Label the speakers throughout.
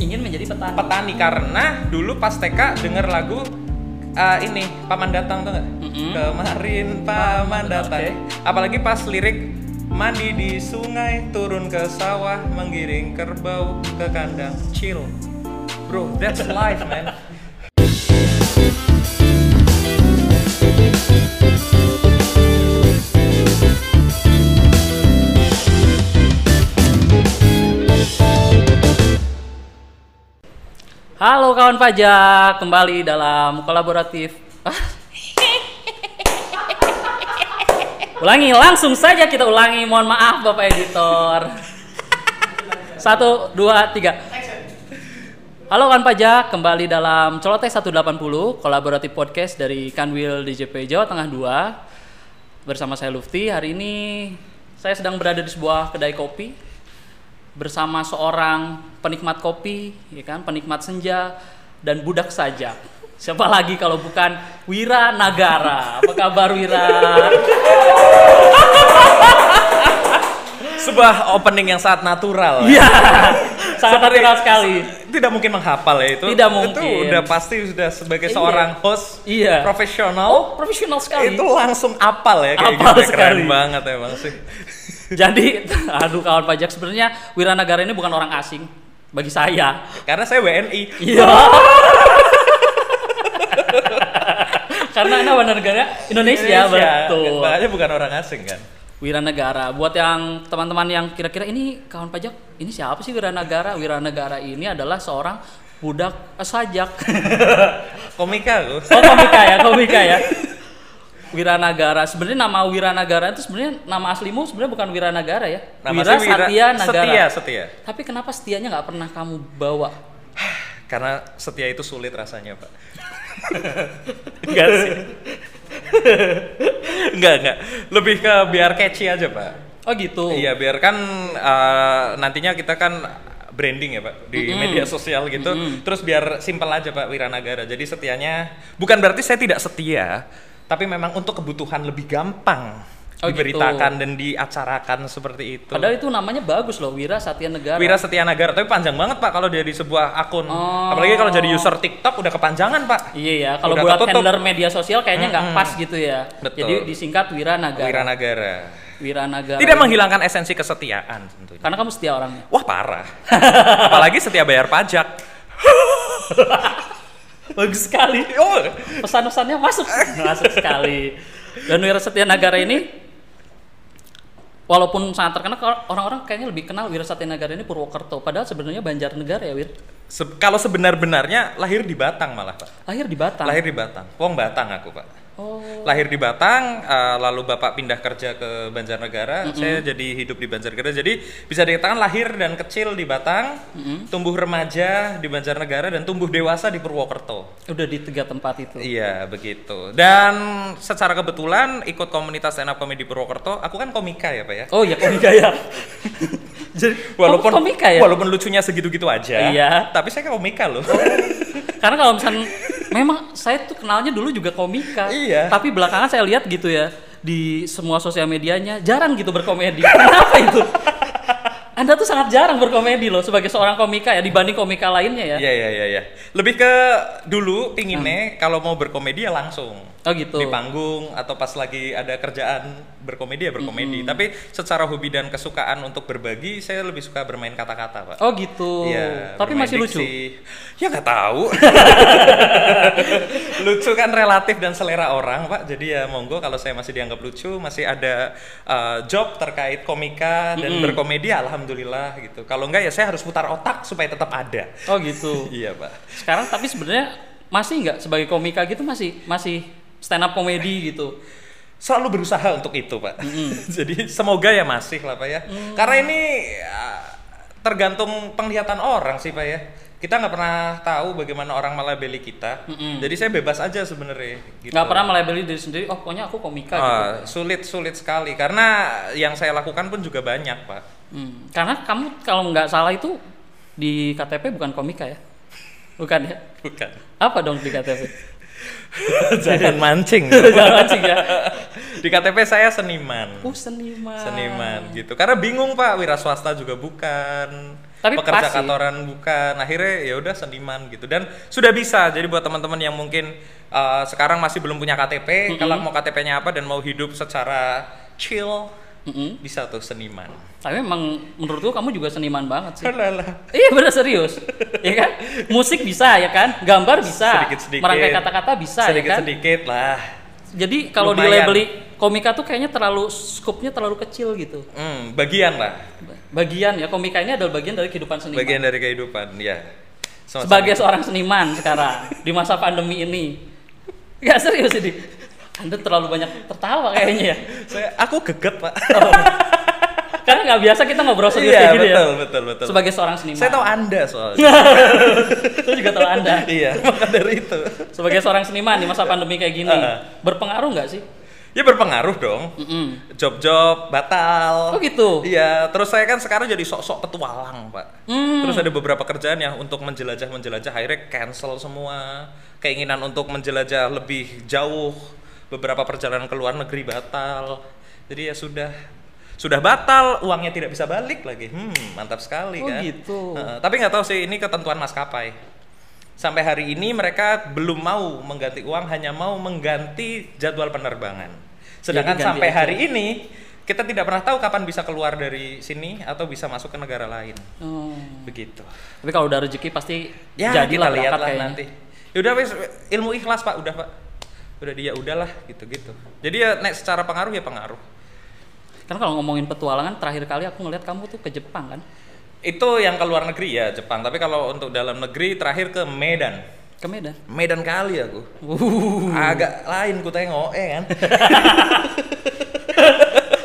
Speaker 1: ingin menjadi petani.
Speaker 2: petani karena dulu pas TK denger lagu eh, ini paman datang tuh nggak
Speaker 1: Mm-mm.
Speaker 2: kemarin paman datang apalagi pas lirik mandi di sungai turun ke sawah menggiring kerbau ke kandang chill bro that's life man
Speaker 1: Halo kawan pajak, kembali dalam kolaboratif. Hah? ulangi langsung saja kita ulangi. Mohon maaf Bapak editor. Satu, dua, tiga. Halo kawan pajak, kembali dalam Celoteh 180, kolaboratif podcast dari Kanwil DJP Jawa Tengah 2. Bersama saya Lufti, hari ini saya sedang berada di sebuah kedai kopi bersama seorang penikmat kopi, ya kan, penikmat senja dan budak saja. Siapa lagi kalau bukan Wira Nagara? Apa kabar Wira?
Speaker 2: sebuah opening yang sangat natural ya.
Speaker 1: Iya, sangat natural sekali.
Speaker 2: tidak mungkin menghafal ya itu
Speaker 1: Tidak
Speaker 2: itu
Speaker 1: mungkin.
Speaker 2: udah pasti sudah sebagai
Speaker 1: Iya.
Speaker 2: seorang host
Speaker 1: Iya.
Speaker 2: profesional
Speaker 1: Profesional sekali.
Speaker 2: itu langsung apal ya kayak
Speaker 1: Apal
Speaker 2: gitu ya. keren
Speaker 1: sekali.
Speaker 2: banget emang sih
Speaker 1: Jadi, aduh kawan pajak sebenarnya Wira Nagara ini bukan orang asing bagi saya.
Speaker 2: karena saya WNI
Speaker 1: Iya. Karena ini warga negara Indonesia, betul.
Speaker 2: Makanya bukan orang asing kan.
Speaker 1: Wiranegara. Buat yang teman-teman yang kira-kira ini kawan pajak, ini siapa sih Wiranegara? Wiranegara ini adalah seorang budak eh, sajak.
Speaker 2: Komika lu.
Speaker 1: Oh komika ya, komika ya. Wiranagara. Sebenarnya nama Wiranagara itu sebenarnya nama aslimu sebenarnya bukan Wiranagara ya. Wira
Speaker 2: saya Wira-
Speaker 1: Satya Nagara.
Speaker 2: Setia, setia.
Speaker 1: Tapi kenapa setianya nggak pernah kamu bawa?
Speaker 2: Karena setia itu sulit rasanya, Pak.
Speaker 1: Enggak sih.
Speaker 2: enggak, enggak. Lebih ke biar catchy aja, Pak.
Speaker 1: Oh gitu.
Speaker 2: Iya, biar kan eh, nantinya kita kan branding ya, Pak, di
Speaker 1: Mm-mm.
Speaker 2: media sosial gitu. Terus biar simpel aja, Pak, Wiranagara. Jadi setianya bukan berarti saya tidak setia, tapi memang untuk kebutuhan lebih gampang
Speaker 1: Oh, gitu.
Speaker 2: diberitakan dan diacarakan seperti itu.
Speaker 1: Padahal itu namanya bagus loh, Wira Satya Negara.
Speaker 2: Wira Setia Nagara, tapi panjang banget pak kalau dari sebuah akun.
Speaker 1: Oh.
Speaker 2: Apalagi kalau jadi user TikTok udah kepanjangan pak.
Speaker 1: Iya ya, kalau
Speaker 2: Udah
Speaker 1: buat
Speaker 2: ketutup.
Speaker 1: handler media sosial kayaknya nggak pas gitu ya.
Speaker 2: Betul.
Speaker 1: Jadi disingkat Wira Naga.
Speaker 2: Wira Nagara.
Speaker 1: Wira Naga.
Speaker 2: Tidak menghilangkan esensi kesetiaan tentunya.
Speaker 1: Karena kamu setia orangnya.
Speaker 2: Wah parah. Apalagi setia bayar pajak.
Speaker 1: Bagus sekali.
Speaker 2: Oh,
Speaker 1: Pesan-pesannya masuk. masuk sekali. Dan Wira Setia Nagara ini walaupun sangat terkenal kalau orang-orang kayaknya lebih kenal Wira Satya Nagara ini Purwokerto. Padahal sebenarnya Banjarnegara ya, Wir.
Speaker 2: se- kalau sebenar-benarnya lahir di Batang malah pak.
Speaker 1: Lahir di Batang.
Speaker 2: Lahir di Batang. Wong Batang aku pak.
Speaker 1: Oh.
Speaker 2: Lahir di Batang, eh, lalu bapak pindah kerja ke Banjarnegara. Saya jadi hidup di Banjarnegara. Jadi bisa dikatakan lahir dan kecil di Batang, tumbuh remaja di Banjarnegara dan tumbuh dewasa di Purwokerto.
Speaker 1: Udah di tiga tempat itu.
Speaker 2: Iya begitu. Dan secara kebetulan ikut komunitas stand up comedy Purwokerto, aku kan komika ya pak ya.
Speaker 1: Oh ya komika ya. Jadi
Speaker 2: Walaupun
Speaker 1: kamu komika ya.
Speaker 2: walaupun lucunya segitu-gitu aja.
Speaker 1: Iya. Oh,
Speaker 2: Tapi saya komika loh.
Speaker 1: Karena kalau misalnya memang saya tuh kenalnya dulu juga komika.
Speaker 2: Iya.
Speaker 1: Tapi belakangan saya lihat gitu ya di semua sosial medianya jarang gitu berkomedi. Kenapa itu? Anda tuh sangat jarang berkomedi loh sebagai seorang komika ya dibanding komika lainnya ya.
Speaker 2: Iya iya iya. iya. Lebih ke
Speaker 1: Hmm.
Speaker 2: dulu pinginnya kalau mau berkomedi ya langsung.
Speaker 1: Oh gitu.
Speaker 2: di panggung atau pas lagi ada kerjaan berkomedi ya berkomedi. Tapi secara hobi dan kesukaan untuk berbagi, saya lebih suka bermain kata-kata, Pak.
Speaker 1: Oh gitu.
Speaker 2: Iya,
Speaker 1: Tapi
Speaker 2: bermain
Speaker 1: masih lucu.
Speaker 2: diksi. Ya nggak tahu. lucu kan relatif dan selera orang, Pak. Jadi ya monggo kalau saya masih dianggap lucu, masih ada uh, job terkait komika dan berkomedi, alhamdulillah gitu. Kalau enggak ya saya harus putar otak supaya tetap ada.
Speaker 1: Oh gitu.
Speaker 2: Iya, Pak.
Speaker 1: Sekarang tapi sebenarnya masih nggak sebagai komika gitu masih masih stand up komedi gitu.
Speaker 2: selalu berusaha untuk itu pak jadi semoga ya masih lah pak ya
Speaker 1: Mm.
Speaker 2: karena ini ya, tergantung penglihatan orang sih pak ya kita nggak pernah tahu bagaimana orang melabeli kita jadi saya bebas aja sebenarnya gitu
Speaker 1: Nggak pernah melabeli diri sendiri. Oh pokoknya aku komika gitu.
Speaker 2: Ah, sulit sulit sekali karena yang saya lakukan pun juga banyak pak
Speaker 1: Hmm, karena kamu kalau nggak salah itu di KTP bukan komika ya? Bukan ya?
Speaker 2: bukan
Speaker 1: Apa dong di KTP?
Speaker 2: jangan mancing
Speaker 1: Jangan mancing ya.
Speaker 2: di KTP saya seniman
Speaker 1: Oh seniman.
Speaker 2: seniman gitu karena bingung pak wira swasta juga bukan
Speaker 1: Tapi
Speaker 2: pekerja
Speaker 1: pas sih.
Speaker 2: kantoran bukan akhirnya ya udah seniman gitu dan sudah bisa jadi buat teman-teman yang mungkin eh, sekarang masih belum punya KTP kalau mau KTP-nya apa dan mau hidup secara chill
Speaker 1: Mm-mm.
Speaker 2: bisa tuh seniman
Speaker 1: Tapi memang menurutku kamu juga seniman banget sih.
Speaker 2: Lala.
Speaker 1: Iya bener serius, ya kan? Musik bisa ya kan? Gambar bisa,
Speaker 2: Sedikit-sedikit.
Speaker 1: merangkai kata-kata bisa ya kan?
Speaker 2: sedikit-sedikit lah
Speaker 1: Jadi kalau di
Speaker 2: Lumayan.
Speaker 1: labeli komika tuh kayaknya terlalu scope-nya terlalu kecil gitu.
Speaker 2: Hmm, bagian lah
Speaker 1: Bagian ya komika ini adalah bagian dari kehidupan seniman.
Speaker 2: bagian dari kehidupan ya Sama-sama.
Speaker 1: Sebagai seorang seniman sekarang di masa pandemi ini, nggak serius ini. Anda terlalu banyak tertawa kayaknya ya.
Speaker 2: saya aku geget pak
Speaker 1: Karena nggak biasa kita ngobrol serius Oh,
Speaker 2: iya
Speaker 1: kayak gini
Speaker 2: betul,
Speaker 1: ya.
Speaker 2: betul betul
Speaker 1: Sebagai seorang seniman.
Speaker 2: saya tahu anda soalnya
Speaker 1: Itu juga tahu Anda.
Speaker 2: iya maka dari itu
Speaker 1: Sebagai seorang seniman di masa pandemi kayak gini,
Speaker 2: Uh-uh.
Speaker 1: berpengaruh nggak sih?
Speaker 2: ya berpengaruh dong
Speaker 1: Mm-mm.
Speaker 2: job-job batal
Speaker 1: Oh gitu.
Speaker 2: iya terus saya kan sekarang jadi sok-sok petualang pak
Speaker 1: Hmm.
Speaker 2: terus ada beberapa kerjaan yang untuk menjelajah menjelajah akhirnya cancel semua keinginan untuk menjelajah lebih jauh beberapa perjalanan ke luar negeri batal jadi ya sudah sudah batal uangnya tidak bisa balik lagi hmm mantap sekali
Speaker 1: Oh,
Speaker 2: kan
Speaker 1: gitu.
Speaker 2: Heeh, tapi nggak tahu sih ini ketentuan maskapai sampai hari ini mereka belum mau mengganti uang hanya mau mengganti jadwal penerbangan sedangkan
Speaker 1: Jadi ganti
Speaker 2: sampai
Speaker 1: aja.
Speaker 2: hari ini kita tidak pernah tahu kapan bisa keluar dari sini atau bisa masuk ke negara lain
Speaker 1: Hmm.
Speaker 2: begitu
Speaker 1: Tapi kalau udah rezeki pasti
Speaker 2: ya
Speaker 1: jadilah
Speaker 2: kita lihat
Speaker 1: berangkat
Speaker 2: lah
Speaker 1: kayaknya.
Speaker 2: nanti ya udah wes ilmu ikhlas pak udah pak udah dia udahlah gitu gitu jadi ya naik secara pengaruh ya pengaruh
Speaker 1: Karena kalau ngomongin petualangan, terakhir kali aku ngeliat kamu tuh ke Jepang kan?
Speaker 2: itu yang ke luar negeri ya Jepang tapi kalau untuk dalam negeri terakhir ke Medan
Speaker 1: Ke Medan.
Speaker 2: Medan kali aku
Speaker 1: Wuh,
Speaker 2: agak lain ku tengok eh kan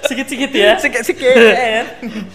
Speaker 1: sikit-sikit ya.
Speaker 2: sikit sikit kan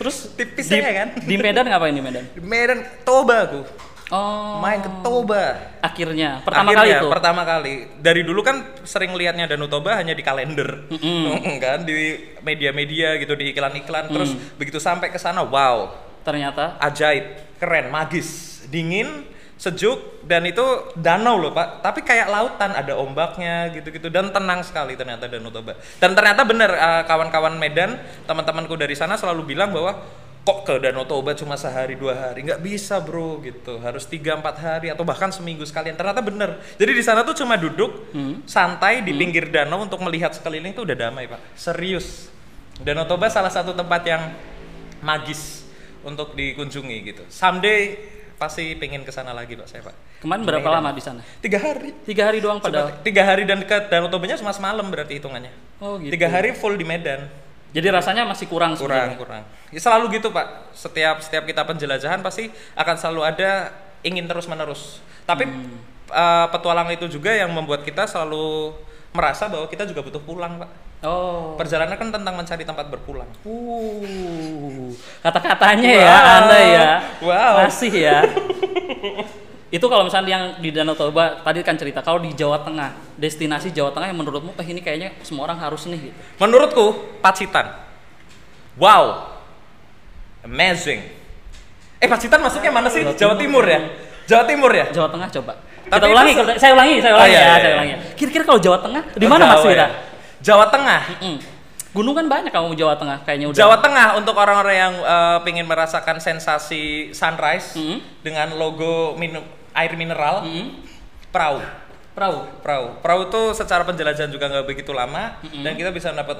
Speaker 1: Terus
Speaker 2: tipis
Speaker 1: di,
Speaker 2: aja kan
Speaker 1: di Medan ngapain di Medan?
Speaker 2: Di Medan Toba aku
Speaker 1: Oh,
Speaker 2: main ke Toba
Speaker 1: akhirnya pertama
Speaker 2: Akhirnya,
Speaker 1: kali itu.
Speaker 2: pertama kali dari dulu kan sering lihatnya Danau Toba hanya di kalender kan di media-media gitu di iklan-iklan terus
Speaker 1: Mm.
Speaker 2: begitu sampai ke sana wow
Speaker 1: Ternyata
Speaker 2: ajaib keren magis dingin sejuk dan itu danau loh pak tapi kayak lautan ada ombaknya gitu-gitu dan tenang sekali ternyata Danau Toba dan ternyata bener eh, kawan-kawan Medan teman-temanku dari sana selalu bilang bahwa kok ke Danau Toba cuma sehari dua hari nggak bisa bro gitu harus tiga empat hari atau bahkan seminggu sekalian ternyata bener jadi di sana tuh cuma duduk santai di pinggir danau untuk melihat sekeliling tuh udah damai pak serius Danau Toba salah satu tempat yang magis untuk dikunjungi gitu. Someday pasti pengen ke sana lagi pak saya pak.
Speaker 1: kemarin berapa lama di sana?
Speaker 2: Tiga hari.
Speaker 1: Tiga hari doang padahal.
Speaker 2: Sempat- Tiga hari dan ke Danau Tobanya cuma semalam berarti hitungannya.
Speaker 1: Oh gitu.
Speaker 2: Tiga hari full di Medan.
Speaker 1: Jadi rasanya masih kurang.
Speaker 2: Kurang
Speaker 1: sebenarnya.
Speaker 2: kurang. Ya, selalu gitu pak. Setiap setiap kita penjelajahan pasti akan selalu ada ingin terus menerus. Tapi
Speaker 1: Hmm.
Speaker 2: eh, petualang itu juga yang membuat kita selalu merasa bahwa kita juga butuh pulang pak.
Speaker 1: Oh.
Speaker 2: Perjalanan kan tentang mencari tempat berpulang.
Speaker 1: Uh, kata-katanya ya,
Speaker 2: Wow.
Speaker 1: Anda ya.
Speaker 2: Wow.
Speaker 1: Masih ya. Itu kalau misalnya yang di Danau Toba tadi kan cerita kalau di Jawa Tengah, destinasi Jawa Tengah yang menurutmu eh ini kayaknya semua orang harus nih gitu.
Speaker 2: Menurutku Pacitan. Wow. Amazing. Eh Pacitan masuknya mana sih?
Speaker 1: Jawa
Speaker 2: Jawa Timur ya? Jawa Timur ya?
Speaker 1: Jawa Tengah coba. kita
Speaker 2: Tapi itu
Speaker 1: ulangi,
Speaker 2: se-
Speaker 1: kita- saya ulangi, saya
Speaker 2: Oh,
Speaker 1: ulangi
Speaker 2: iya,
Speaker 1: ya,
Speaker 2: iya,
Speaker 1: saya
Speaker 2: iya.
Speaker 1: ulangi. Kira-kira kalau Jawa Tengah di mana
Speaker 2: Jawa
Speaker 1: Mas Wira?
Speaker 2: ya. Jawa Tengah.
Speaker 1: Mm. Gunung kan banyak kamu Jawa Tengah kayaknya udah.
Speaker 2: Jawa Tengah untuk orang-orang yang eh, pengen merasakan sensasi sunrise
Speaker 1: Mhm.
Speaker 2: dengan logo minum air mineral,
Speaker 1: Mm.
Speaker 2: perahu.
Speaker 1: Perahu.
Speaker 2: Perahu. Perahu itu secara penjelajahan juga nggak begitu lama dan kita bisa dapat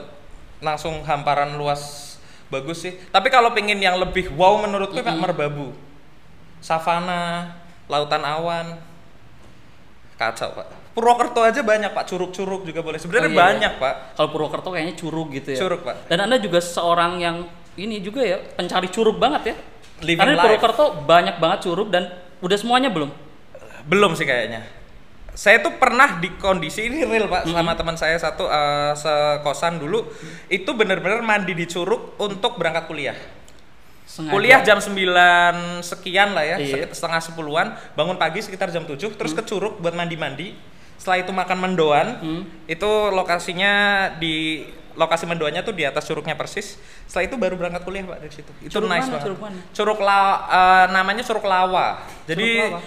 Speaker 2: langsung hamparan luas bagus sih. Tapi kalau pengen yang lebih wow menurutku Pak Merbabu. Savana, lautan awan. Kacau, Pak. Purwokerto aja banyak, Pak. Curug-curug juga boleh. Sebenarnya
Speaker 1: Oh, iya,
Speaker 2: banyak, Pak.
Speaker 1: Kalau Purwokerto kayaknya curug gitu ya.
Speaker 2: Curug, Pak.
Speaker 1: Dan Anda juga seorang yang ini juga ya, pencari curug banget ya.
Speaker 2: Living
Speaker 1: Karena di
Speaker 2: life.
Speaker 1: Purwokerto banyak banget curug dan udah semuanya belum.
Speaker 2: Belum sih kayaknya. Saya tuh pernah di kondisi ini real pak sama teman saya satu eh, sekosan dulu itu bener-bener mandi di curug untuk berangkat kuliah.
Speaker 1: Sengaja.
Speaker 2: Kuliah jam 9 sekian lah
Speaker 1: Iya.
Speaker 2: ya,
Speaker 1: Hmm.
Speaker 2: sek- setengah sepuluhan, bangun pagi sekitar jam 7, terus ke Curug buat mandi-mandi. Setelah itu makan mendoan, itu lokasinya di lokasi mendoannya tuh di atas curugnya persis. Setelah itu baru berangkat kuliah pak dari situ. Itu
Speaker 1: Curug
Speaker 2: nice
Speaker 1: mana,
Speaker 2: banget.
Speaker 1: curug mana?
Speaker 2: Curug La- eh, namanya Curug Lawa. Jadi
Speaker 1: Lawa.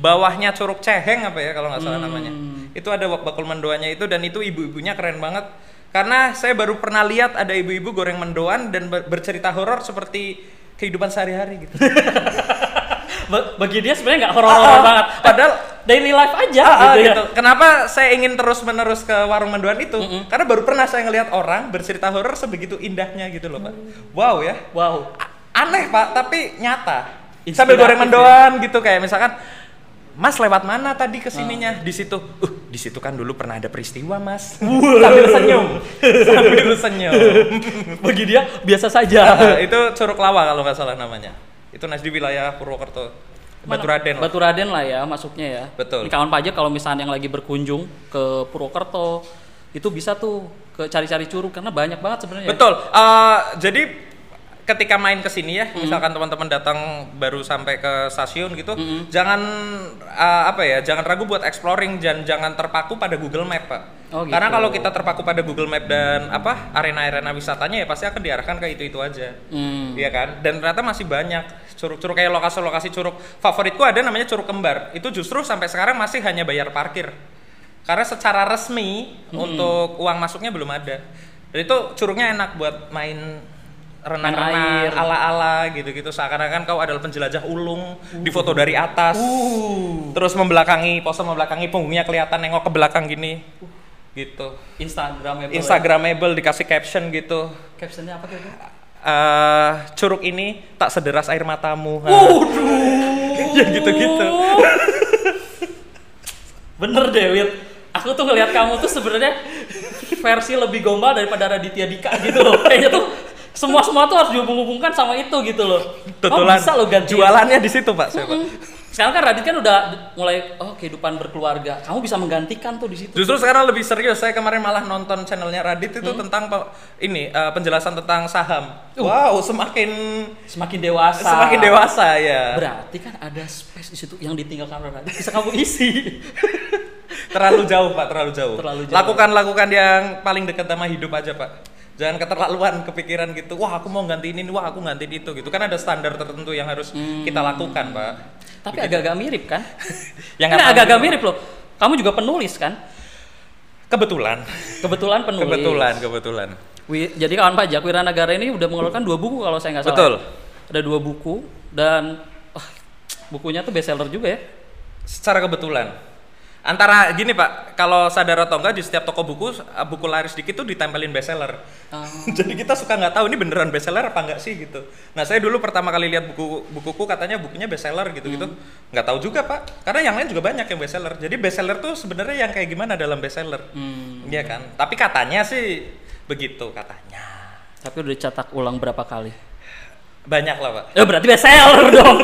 Speaker 2: bawahnya Curug Ceheng apa ya kalau nggak
Speaker 1: Hmm.
Speaker 2: salah namanya. Itu ada bak- bakul mendoannya itu dan itu ibu-ibunya keren banget. Karena saya baru pernah lihat ada ibu-ibu goreng mendoan dan ber- bercerita horor seperti kehidupan sehari-hari gitu.
Speaker 1: Ba- bagi dia sebenarnya nggak horor-horor
Speaker 2: Ah, ah.
Speaker 1: Oh, banget. Kan
Speaker 2: Padahal
Speaker 1: daily life aja
Speaker 2: Ah, ah,
Speaker 1: gitu, ya.
Speaker 2: gitu. Kenapa saya ingin terus menerus ke warung menduan itu? Karena baru pernah saya ngelihat orang bercerita horor sebegitu indahnya gitu loh pak.
Speaker 1: Mm.
Speaker 2: Wow ya,
Speaker 1: Wow.
Speaker 2: A- aneh pak, tapi nyata.
Speaker 1: Inspiratif,
Speaker 2: Sambil goreng
Speaker 1: ya.
Speaker 2: mendoan gitu kayak misalkan, Mas lewat mana tadi kesininya?
Speaker 1: Oh.
Speaker 2: Di situ, uh, di situ kan dulu pernah ada peristiwa Mas. Sambil senyum, sambil senyum.
Speaker 1: Bagi dia biasa saja.
Speaker 2: Ah, itu Curug Lawa kalau nggak salah namanya. Itu nas di wilayah Purwokerto, Batu Raden. lah.
Speaker 1: Batu Raden lah ya masuknya ya.
Speaker 2: Betul.
Speaker 1: Ini kawan pajak kalau misalnya yang lagi berkunjung ke Purwokerto itu bisa tuh ke cari-cari curug karena banyak banget sebenarnya.
Speaker 2: Betul. Eh, jadi ketika main ke sini ya,
Speaker 1: Hmm.
Speaker 2: misalkan teman-teman datang baru sampai ke stasiun gitu,
Speaker 1: Hmm.
Speaker 2: jangan eh, apa ya, jangan ragu buat exploring dan jangan terpaku pada Google Map, Pak.
Speaker 1: Oh, gitu.
Speaker 2: Karena kalau kita terpaku pada Google Map dan apa arena-arena wisatanya ya pasti akan diarahkan ke itu-itu aja.
Speaker 1: Hmm.
Speaker 2: Iya kan? Dan ternyata masih banyak curug-curug kayak lokasi-lokasi curug favoritku ada namanya curug kembar. Itu justru sampai sekarang masih hanya bayar parkir. Karena secara resmi untuk uang masuknya belum ada. Dan itu curugnya enak buat main
Speaker 1: Main air.
Speaker 2: renang-renang ala-ala gitu-gitu seakan-akan kau adalah penjelajah ulung
Speaker 1: Uh.
Speaker 2: difoto dari atas. Terus membelakangi, pose membelakangi punggungnya kelihatan nengok ke belakang gini.
Speaker 1: Uh.
Speaker 2: Gitu.
Speaker 1: Instagram ya,
Speaker 2: Instagramable dikasih caption gitu.
Speaker 1: Captionnya apa kira-kira?
Speaker 2: Eh, curug ini tak sederas air matamu. Nah,
Speaker 1: Oh,
Speaker 2: ya gitu-gitu.
Speaker 1: Bener deh, Wit. Aku tuh ngelihat kamu tuh sebenarnya versi lebih gombal daripada Raditya Dika gitu loh. Kayaknya tuh semua semua tuh harus dihubung-hubungkan sama itu gitu loh. Kamu
Speaker 2: Tutulan.
Speaker 1: bisa loh ganti
Speaker 2: Jualannya di situ, Pak. Saya, Pak.
Speaker 1: Sekarang kan Radit kan udah d- mulai oh kehidupan berkeluarga. Kamu bisa menggantikan tuh di situ.
Speaker 2: Justru sekarang lebih serius. Saya kemarin malah nonton channelnya Radit itu tentang pe- ini eh, penjelasan tentang saham.
Speaker 1: Uh.
Speaker 2: Wow, semakin
Speaker 1: Semakin dewasa.
Speaker 2: semakin dewasa ya.
Speaker 1: Berarti kan ada space di situ yang ditinggalkan oleh Radit bisa kamu isi.
Speaker 2: Terlalu jauh, Pak, terlalu jauh.
Speaker 1: Terlalu jauh.
Speaker 2: Lakukan-lakukan yang paling dekat sama hidup aja, Pak. Jangan keterlaluan kepikiran gitu. Wah, aku mau gantiin ini, wah aku gantiin itu gitu. Kan ada standar tertentu yang harus
Speaker 1: Hmm.
Speaker 2: kita lakukan, Pak.
Speaker 1: Tapi agak-agag mirip kan? Yang
Speaker 2: Yang nggak
Speaker 1: agak-agak
Speaker 2: tahu.
Speaker 1: mirip loh. Kamu juga penulis kan?
Speaker 2: Kebetulan.
Speaker 1: Kebetulan penulis.
Speaker 2: Kebetulan, kebetulan.
Speaker 1: Wi- jadi kawan pajak Wiranagara ini udah mengeluarkan dua buku kalau saya nggak salah.
Speaker 2: Betul.
Speaker 1: Ada dua buku dan wah, bukunya tuh bestseller juga ya.
Speaker 2: Secara kebetulan. Antara gini Pak, kalau sadar atau enggak di setiap toko buku, eh, buku laris dikit tuh ditempelin bestseller.
Speaker 1: Oh.
Speaker 2: Jadi kita suka nggak tahu ini beneran bestseller apa enggak sih gitu. Nah saya dulu pertama kali lihat buku bukuku katanya bukunya bestseller gitu gitu,
Speaker 1: Hmm.
Speaker 2: nggak tahu juga Pak. Karena yang lain juga banyak yang bestseller. Jadi bestseller tuh sebenarnya yang kayak gimana dalam bestseller,
Speaker 1: Hmm.
Speaker 2: iya kan? Tapi katanya sih begitu katanya.
Speaker 1: Tapi udah dicetak ulang berapa kali?
Speaker 2: Banyak lah Pak,
Speaker 1: Ya berarti bestseller dong.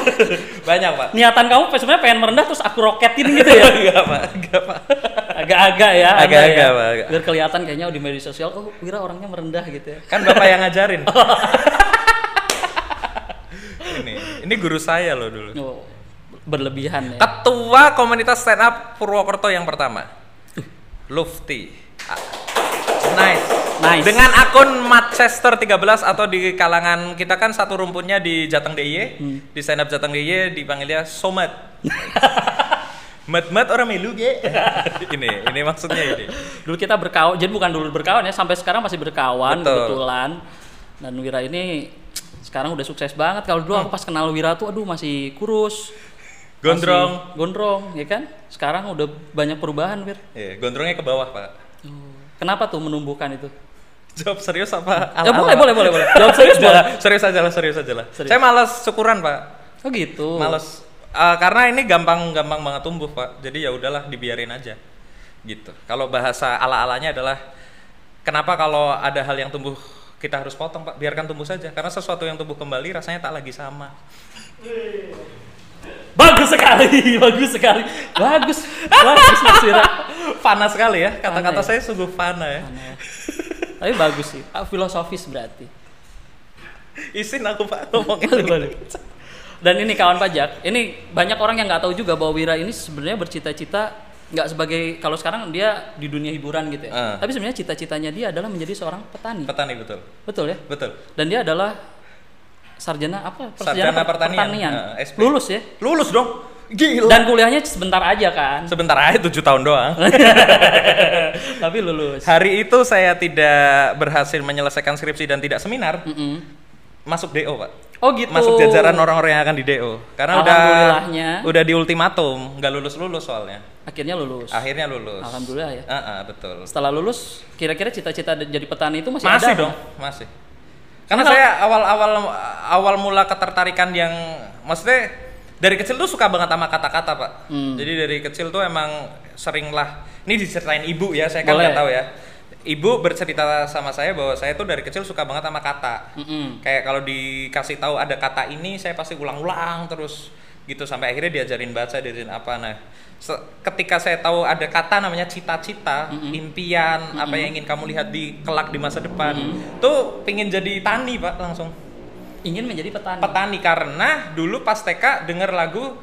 Speaker 2: banyak Pak.
Speaker 1: Niatan kamu sebenarnya pengen merendah terus aku roketin gitu ya.
Speaker 2: Enggak Pak, enggak Pak.
Speaker 1: Agak-agak ya. Anda
Speaker 2: Agak-agak,
Speaker 1: ya.
Speaker 2: Pak, agak.
Speaker 1: Biar kelihatan kayaknya di media sosial, oh Wira orangnya merendah gitu ya.
Speaker 2: kan bapak yang ngajarin ini ini guru saya loh dulu
Speaker 1: Oh, berlebihan ya.
Speaker 2: ketua komunitas stand up Purwokerto yang pertama Lufti Ah, nice
Speaker 1: Nice.
Speaker 2: dengan akun Manchester 13 atau di kalangan kita kan satu rumpunnya di Jateng DIY di stand up Jateng DIY dipanggilnya Somat Mat-mat orang melu ge. ini, ini maksudnya ini.
Speaker 1: Dulu kita berkawan, jadi bukan dulu berkawan ya, sampai sekarang masih berkawan
Speaker 2: Betul.
Speaker 1: kebetulan. Dan Wira ini sekarang udah sukses banget. Kalau dulu aku pas kenal Wira tuh aduh masih kurus.
Speaker 2: Gondrong.
Speaker 1: Masih gondrong, ya kan? Sekarang udah banyak perubahan, Wir.
Speaker 2: Iya, gondrongnya ke bawah, Pak.
Speaker 1: Oh. Kenapa tuh menumbuhkan itu?
Speaker 2: Jawab serius apa?
Speaker 1: Ya
Speaker 2: ala-ala?
Speaker 1: boleh, boleh, boleh, boleh. Jawab serius
Speaker 2: Udah,
Speaker 1: boleh.
Speaker 2: serius aja lah, serius aja lah.
Speaker 1: Serius.
Speaker 2: Saya malas syukuran pak,
Speaker 1: Oh gitu.
Speaker 2: malas Eh, karena ini gampang-gampang banget tumbuh pak. Jadi ya udahlah dibiarin aja, gitu. Kalau bahasa ala-alanya adalah kenapa kalau ada hal yang tumbuh kita harus potong pak, biarkan tumbuh saja. Karena sesuatu yang tumbuh kembali rasanya tak lagi sama.
Speaker 1: Bagus sekali, bagus sekali. Bagus. Bagus Mas Wira.
Speaker 2: Fana sekali ya, kata-kata
Speaker 1: Fana
Speaker 2: saya sungguh fana ya.
Speaker 1: Tapi bagus sih, ah, filosofis berarti.
Speaker 2: Isin aku pak ngomongin.
Speaker 1: Boleh, boleh. Dan ini kawan pajak, ini banyak orang yang nggak tahu juga bahwa Wira ini sebenarnya bercita-cita nggak sebagai kalau sekarang dia di dunia hiburan gitu ya.
Speaker 2: Ah.
Speaker 1: Tapi sebenarnya cita-citanya dia adalah menjadi seorang petani.
Speaker 2: Petani betul,
Speaker 1: Betul ya?
Speaker 2: betul.
Speaker 1: Dan dia adalah sarjana apa?
Speaker 2: Sarjana
Speaker 1: per-
Speaker 2: pertanian. Ah, SP.
Speaker 1: Lulus ya.
Speaker 2: Lulus dong, gila.
Speaker 1: Dan kuliahnya sebentar aja kan.
Speaker 2: Sebentar aja tujuh tahun doang.
Speaker 1: Tapi lulus.
Speaker 2: Hari itu saya tidak berhasil menyelesaikan skripsi dan tidak seminar.
Speaker 1: Mm-mm.
Speaker 2: masuk DO pak.
Speaker 1: Oh gitu.
Speaker 2: Masuk jajaran orang-orang yang akan di DO. Karena udah
Speaker 1: Alhamdulillahnya.
Speaker 2: udah di ultimatum, nggak lulus lulus soalnya.
Speaker 1: Akhirnya lulus.
Speaker 2: Akhirnya lulus.
Speaker 1: Alhamdulillah ya.
Speaker 2: Ah, ah, betul.
Speaker 1: Setelah lulus, kira-kira cita-cita de- jadi petani itu masih, ada?
Speaker 2: Masih dong, masih. Karena saya awal-awal awal mula ketertarikan yang maksudnya dari kecil tuh suka banget sama kata-kata pak.
Speaker 1: Hmm.
Speaker 2: Jadi dari kecil tuh emang seringlah ini diceritain ibu ya, saya kan
Speaker 1: Boleh.
Speaker 2: nggak tahu ya. Ibu bercerita sama saya bahwa saya tuh dari kecil suka banget sama kata.
Speaker 1: Mm-mm.
Speaker 2: Kayak kalau dikasih tahu ada kata ini, saya pasti ulang-ulang terus gitu sampai akhirnya diajarin baca, diajarin apa. Nah, se- ketika saya tahu ada kata namanya cita-cita, impian, apa yang ingin kamu lihat di kelak di masa depan, tuh pingin jadi tani pak langsung.
Speaker 1: Ingin menjadi petani.
Speaker 2: Petani karena dulu pas TK denger lagu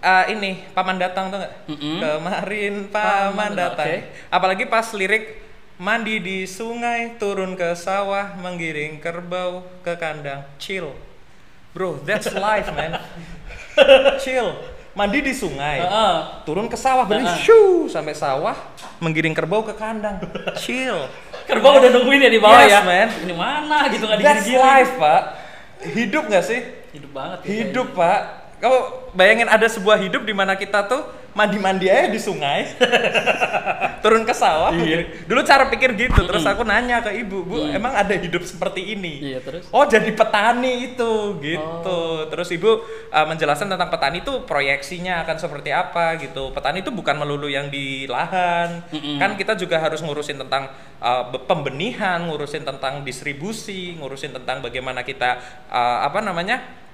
Speaker 2: eh, ini paman datang tuh nggak?
Speaker 1: Mm-mm.
Speaker 2: Kemarin
Speaker 1: Paman
Speaker 2: paman
Speaker 1: datang,
Speaker 2: datang.
Speaker 1: oke.
Speaker 2: Apalagi pas lirik mandi di sungai, turun ke sawah, menggiring kerbau ke kandang, chill. Bro, that's life man. chill. Mandi di sungai,
Speaker 1: Heeh.
Speaker 2: turun ke sawah, beli
Speaker 1: Heeh.
Speaker 2: shoo, sampai sawah, menggiring kerbau ke kandang, chill.
Speaker 1: Kerbau udah nungguin ya di bawah ya.
Speaker 2: Yes, man.
Speaker 1: Ini mana gitu nggak
Speaker 2: That's
Speaker 1: digigit
Speaker 2: life pak. Hidup nggak sih?
Speaker 1: Hidup banget. ya,
Speaker 2: Hidup, Pak. Kamu bayangin ada sebuah hidup di mana kita tuh mandi-mandi aja di sungai. Turun ke sawah.
Speaker 1: Iya.
Speaker 2: Dulu cara pikir gitu, terus aku nanya ke ibu, "Bu,
Speaker 1: Mm.
Speaker 2: emang ada hidup seperti ini?"
Speaker 1: kayaknya. Iya terus.
Speaker 2: Oh, jadi petani itu gitu. Terus Ibu uh, menjelaskan tentang petani itu proyeksinya akan seperti apa gitu. Petani itu bukan melulu yang di lahan. Kan kita juga harus ngurusin tentang uh, be- pembenihan, ngurusin tentang distribusi, ngurusin tentang bagaimana kita uh, apa namanya?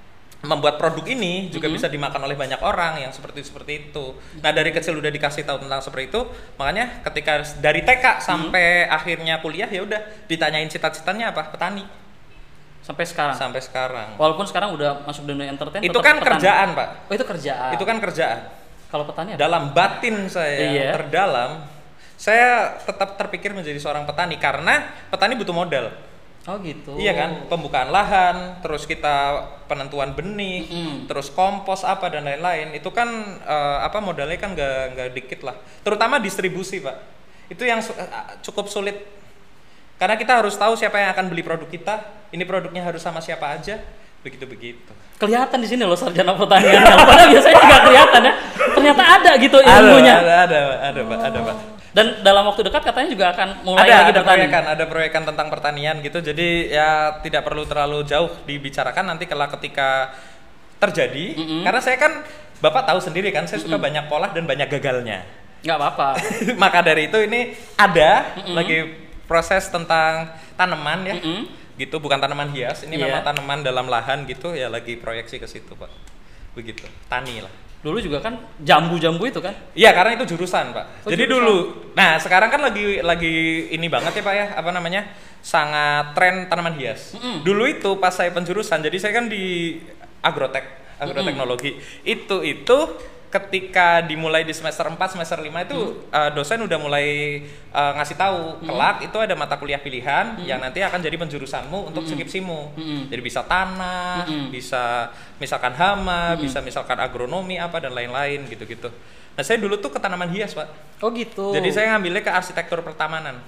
Speaker 2: membuat produk ini juga bisa dimakan oleh banyak orang yang seperti seperti itu. Nah dari kecil udah dikasih tahu tentang seperti itu, makanya ketika dari TK sampai akhirnya kuliah ya udah ditanyain cita-citanya apa petani
Speaker 1: Sampai sekarang.
Speaker 2: sampai sekarang.
Speaker 1: Walaupun sekarang udah masuk dunia entertain.
Speaker 2: itu
Speaker 1: Oh, tetap
Speaker 2: kan
Speaker 1: petani.
Speaker 2: kerjaan pak,
Speaker 1: Oh itu kerjaan.
Speaker 2: itu kan kerjaan.
Speaker 1: Kalau petani ada.
Speaker 2: Dalam batin saya yang
Speaker 1: Iya.
Speaker 2: terdalam, saya tetap terpikir menjadi seorang petani karena petani butuh modal.
Speaker 1: Oh gitu.
Speaker 2: Iya kan, pembukaan lahan, terus kita penentuan benih,
Speaker 1: Mm-mm.
Speaker 2: terus kompos apa dan lain-lain. Itu kan eh, apa modalnya kan nggak nggak dikit lah. Terutama distribusi pak, itu yang su- eh, cukup sulit. Karena kita harus tahu siapa yang akan beli produk kita. Ini produknya harus sama siapa aja, begitu begitu.
Speaker 1: Kelihatan di sini loh sarjana pertanian. Padahal biasanya nggak kelihatan ya. Ternyata ada gitu ilmunya.
Speaker 2: Ada ada ada pak, ada pak.
Speaker 1: Dan dalam waktu dekat katanya juga akan mulai lagi
Speaker 2: ada ada
Speaker 1: bertani.
Speaker 2: proyekan ada proyekan tentang pertanian gitu jadi ya tidak perlu terlalu jauh dibicarakan nanti kelak ketika terjadi karena saya kan bapak tahu sendiri kan saya suka banyak pola dan banyak gagalnya
Speaker 1: Nggak apa-apa.
Speaker 2: maka dari itu ini ada lagi proses tentang tanaman ya gitu bukan tanaman hias ini
Speaker 1: Iya.
Speaker 2: memang tanaman dalam lahan gitu ya lagi proyeksi ke situ pak begitu tani lah
Speaker 1: Dulu juga kan jambu-jambu itu kan.
Speaker 2: Iya karena itu jurusan pak.
Speaker 1: Oh,
Speaker 2: Jadi
Speaker 1: jurusan.
Speaker 2: dulu, nah sekarang kan lagi lagi ini banget ya pak ya apa namanya sangat tren tanaman hias.
Speaker 1: Mm-mm.
Speaker 2: Dulu itu pas saya penjurusan, jadi saya kan di agrotek, agroteknologi. Itu itu ketika dimulai di semester 4, semester 5 itu eh, dosen udah mulai eh, ngasih tahu kelak itu ada mata kuliah pilihan yang nanti akan jadi penjurusanmu untuk skripsimu.
Speaker 1: Mm-mm.
Speaker 2: Jadi bisa tanah,
Speaker 1: Mm-mm.
Speaker 2: bisa misalkan hama, bisa misalkan agronomi apa dan lain-lain gitu-gitu. Nah, saya dulu tuh ke tanaman hias, Pak.
Speaker 1: Oh gitu.
Speaker 2: Jadi saya ngambilnya ke arsitektur pertamanan.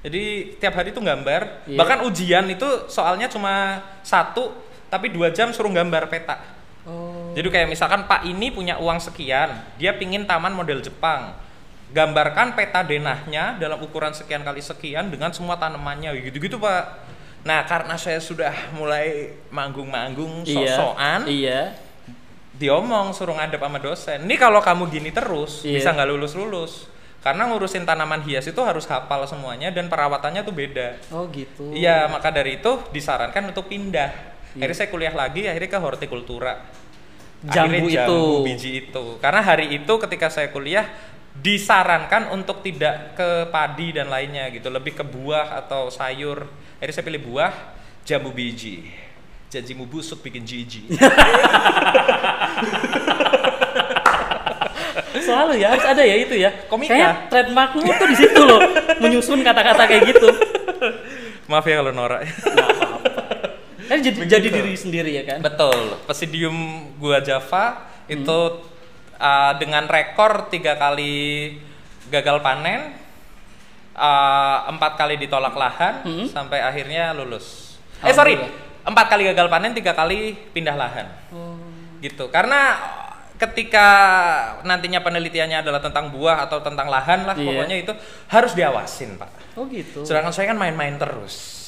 Speaker 2: Jadi tiap hari tuh gambar,
Speaker 1: Iya.
Speaker 2: bahkan ujian itu soalnya cuma satu tapi dua jam suruh gambar peta.
Speaker 1: Oh.
Speaker 2: Jadi kayak misalkan Pak ini punya uang sekian, dia pingin taman model Jepang. Gambarkan peta denahnya dalam ukuran sekian kali sekian dengan semua tanamannya gitu-gitu Pak. Nah karena saya sudah mulai manggung-manggung,
Speaker 1: Iya.
Speaker 2: sosokan,
Speaker 1: Iya.
Speaker 2: diomong suruh ngadep sama dosen. Ini kalau kamu gini terus
Speaker 1: Iya.
Speaker 2: bisa nggak lulus-lulus. Karena ngurusin tanaman hias itu harus hafal semuanya dan perawatannya tuh beda.
Speaker 1: Oh gitu.
Speaker 2: Iya, maka dari itu disarankan untuk pindah.
Speaker 1: Iya.
Speaker 2: Akhirnya saya kuliah lagi, akhirnya ke hortikultura.
Speaker 1: Jambu
Speaker 2: Akhirnya
Speaker 1: itu.
Speaker 2: jambu biji itu. Karena hari itu ketika saya kuliah disarankan untuk tidak ke padi dan lainnya gitu, lebih ke buah atau sayur. Akhirnya saya pilih buah, jambu biji. Janjimu busuk bikin jijik.
Speaker 1: Selalu ya harus ada ya itu ya.
Speaker 2: Komika.
Speaker 1: Kayaknya trademarkmu tuh di situ loh. Menyusun kata-kata kayak gitu.
Speaker 2: Maaf ya kalau norak.
Speaker 1: Kan jadi,
Speaker 2: Begitu.
Speaker 1: jadi diri sendiri ya kan.
Speaker 2: Betul. Presidium Gua Java itu uh, dengan rekor tiga kali gagal panen,
Speaker 1: Hmm.
Speaker 2: ah, uh, empat kali ditolak lahan, sampai akhirnya lulus. Eh sorry, empat kali gagal panen tiga kali pindah lahan
Speaker 1: Oh.
Speaker 2: gitu karena ketika nantinya penelitiannya adalah tentang buah atau tentang lahan lah
Speaker 1: Iya.
Speaker 2: pokoknya itu harus diawasin pak
Speaker 1: Oh gitu.
Speaker 2: sedangkan saya kan main-main terus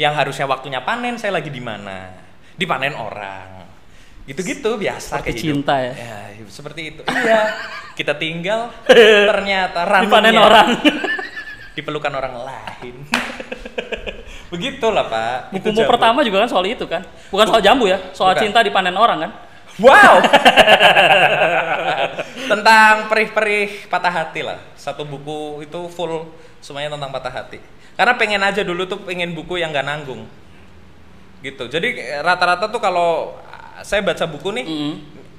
Speaker 2: yang harusnya waktunya panen saya lagi di mana dipanen orang gitu-gitu biasa
Speaker 1: Seperti
Speaker 2: kehidupan.
Speaker 1: cinta ya?
Speaker 2: ya seperti itu iya kita tinggal ternyata
Speaker 1: Dipanen
Speaker 2: ranumnya
Speaker 1: orang.
Speaker 2: diperlukan orang lain begitulah pak Itu
Speaker 1: Bukumu
Speaker 2: jago.
Speaker 1: pertama juga kan soal itu kan. Bukan soal jambu ya, soal
Speaker 2: Bukan.
Speaker 1: cinta dipanen orang kan.
Speaker 2: wow tentang perih-perih patah hati lah satu buku itu full semuanya tentang patah hati karena pengen aja dulu tuh pengen buku yang gak nanggung gitu jadi eh, rata-rata tuh kalau ah, saya baca buku nih
Speaker 1: Mm-mm.